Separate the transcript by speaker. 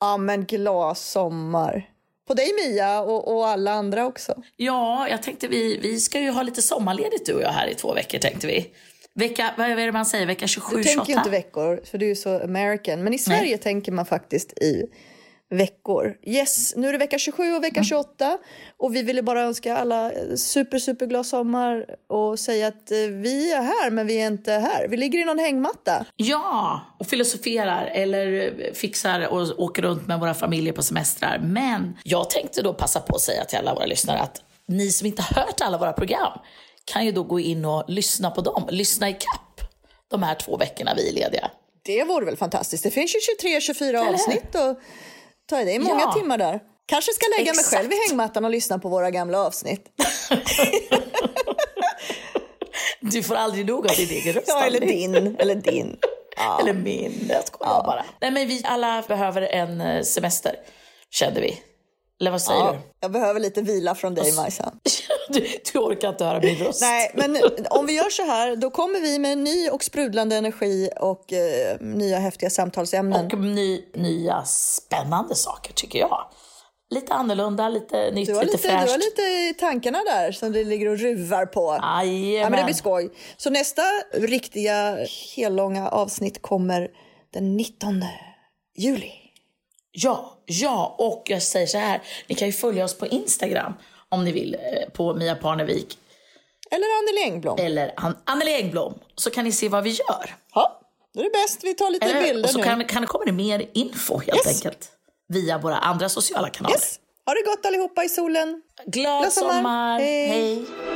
Speaker 1: Ja, men glad sommar. På dig Mia och, och alla andra också.
Speaker 2: Ja, jag tänkte vi, vi ska ju ha lite sommarledigt du och jag här i två veckor tänkte vi. Vecka, vad är det man säger, vecka 27,
Speaker 1: Du tänker ju inte veckor, för du är ju så American. Men i Sverige tänker man faktiskt i veckor. Yes, nu är det vecka 27 och
Speaker 2: Mm.
Speaker 1: vecka 28. Och vi ville bara önska alla eh, super, super glad sommar och säga att eh, vi är här, men vi är inte här. Vi ligger i någon hängmatta.
Speaker 2: Ja, och filosoferar eller fixar och åker runt med våra familjer på semestrar. Men jag tänkte då passa på att säga till alla våra lyssnare att ni som inte har hört alla våra program kan ju då gå in och lyssna på dem, lyssna i kapp de här två veckorna vi är lediga.
Speaker 1: Det vore väl fantastiskt. Det finns ju 23, 24
Speaker 2: hur?
Speaker 1: avsnitt och ta i. Det är många
Speaker 2: Ja.
Speaker 1: timmar där. Kanske ska lägga
Speaker 2: Exakt.
Speaker 1: mig själv i hängmattan och lyssna på våra gamla avsnitt.
Speaker 2: Du får aldrig nog av din egen röst.
Speaker 1: Ja, eller
Speaker 2: Annie.
Speaker 1: din, eller din.
Speaker 2: Eller min. Jag skojar bara. Nej, men vi alla behöver en eh, semester, kände vi. Eller vad säger
Speaker 1: Ja, jag behöver lite vila från dig, Majsan.
Speaker 2: du? du? Du orkar inte höra min röst.
Speaker 1: Nej, men om vi gör så här, då kommer vi med ny och sprudlande energi och eh, nya häftiga samtalsämnen.
Speaker 2: Och ny, nya spännande saker tycker jag. Lite annorlunda, lite nytt,
Speaker 1: du, har
Speaker 2: lite,
Speaker 1: lite, du
Speaker 2: fräscht.
Speaker 1: har lite i tankarna där som du ligger och ruvar på. ja,
Speaker 2: Jajamän.
Speaker 1: men det blir skoj. Så nästa riktiga hellånga avsnitt kommer den 19 juli.
Speaker 2: ja, ja, och jag säger så här. Ni kan ju följa oss på Instagram om ni vill eh, på Mia Parnevik
Speaker 1: Eller Anneli Engblom.
Speaker 2: eller An- Anneli Engblom så kan ni se vad vi gör.
Speaker 1: Ja, då är det bäst. Vi tar lite
Speaker 2: Eller, Eh, och
Speaker 1: bilder
Speaker 2: så
Speaker 1: nu.
Speaker 2: kan, kan det komma mer info
Speaker 1: Yes.
Speaker 2: helt enkelt via våra andra sociala kanaler.
Speaker 1: Yes. Ha det gott allihopa i solen.
Speaker 2: Glad
Speaker 1: Glad sommar.
Speaker 2: sommar!
Speaker 1: Hej.
Speaker 2: Hej.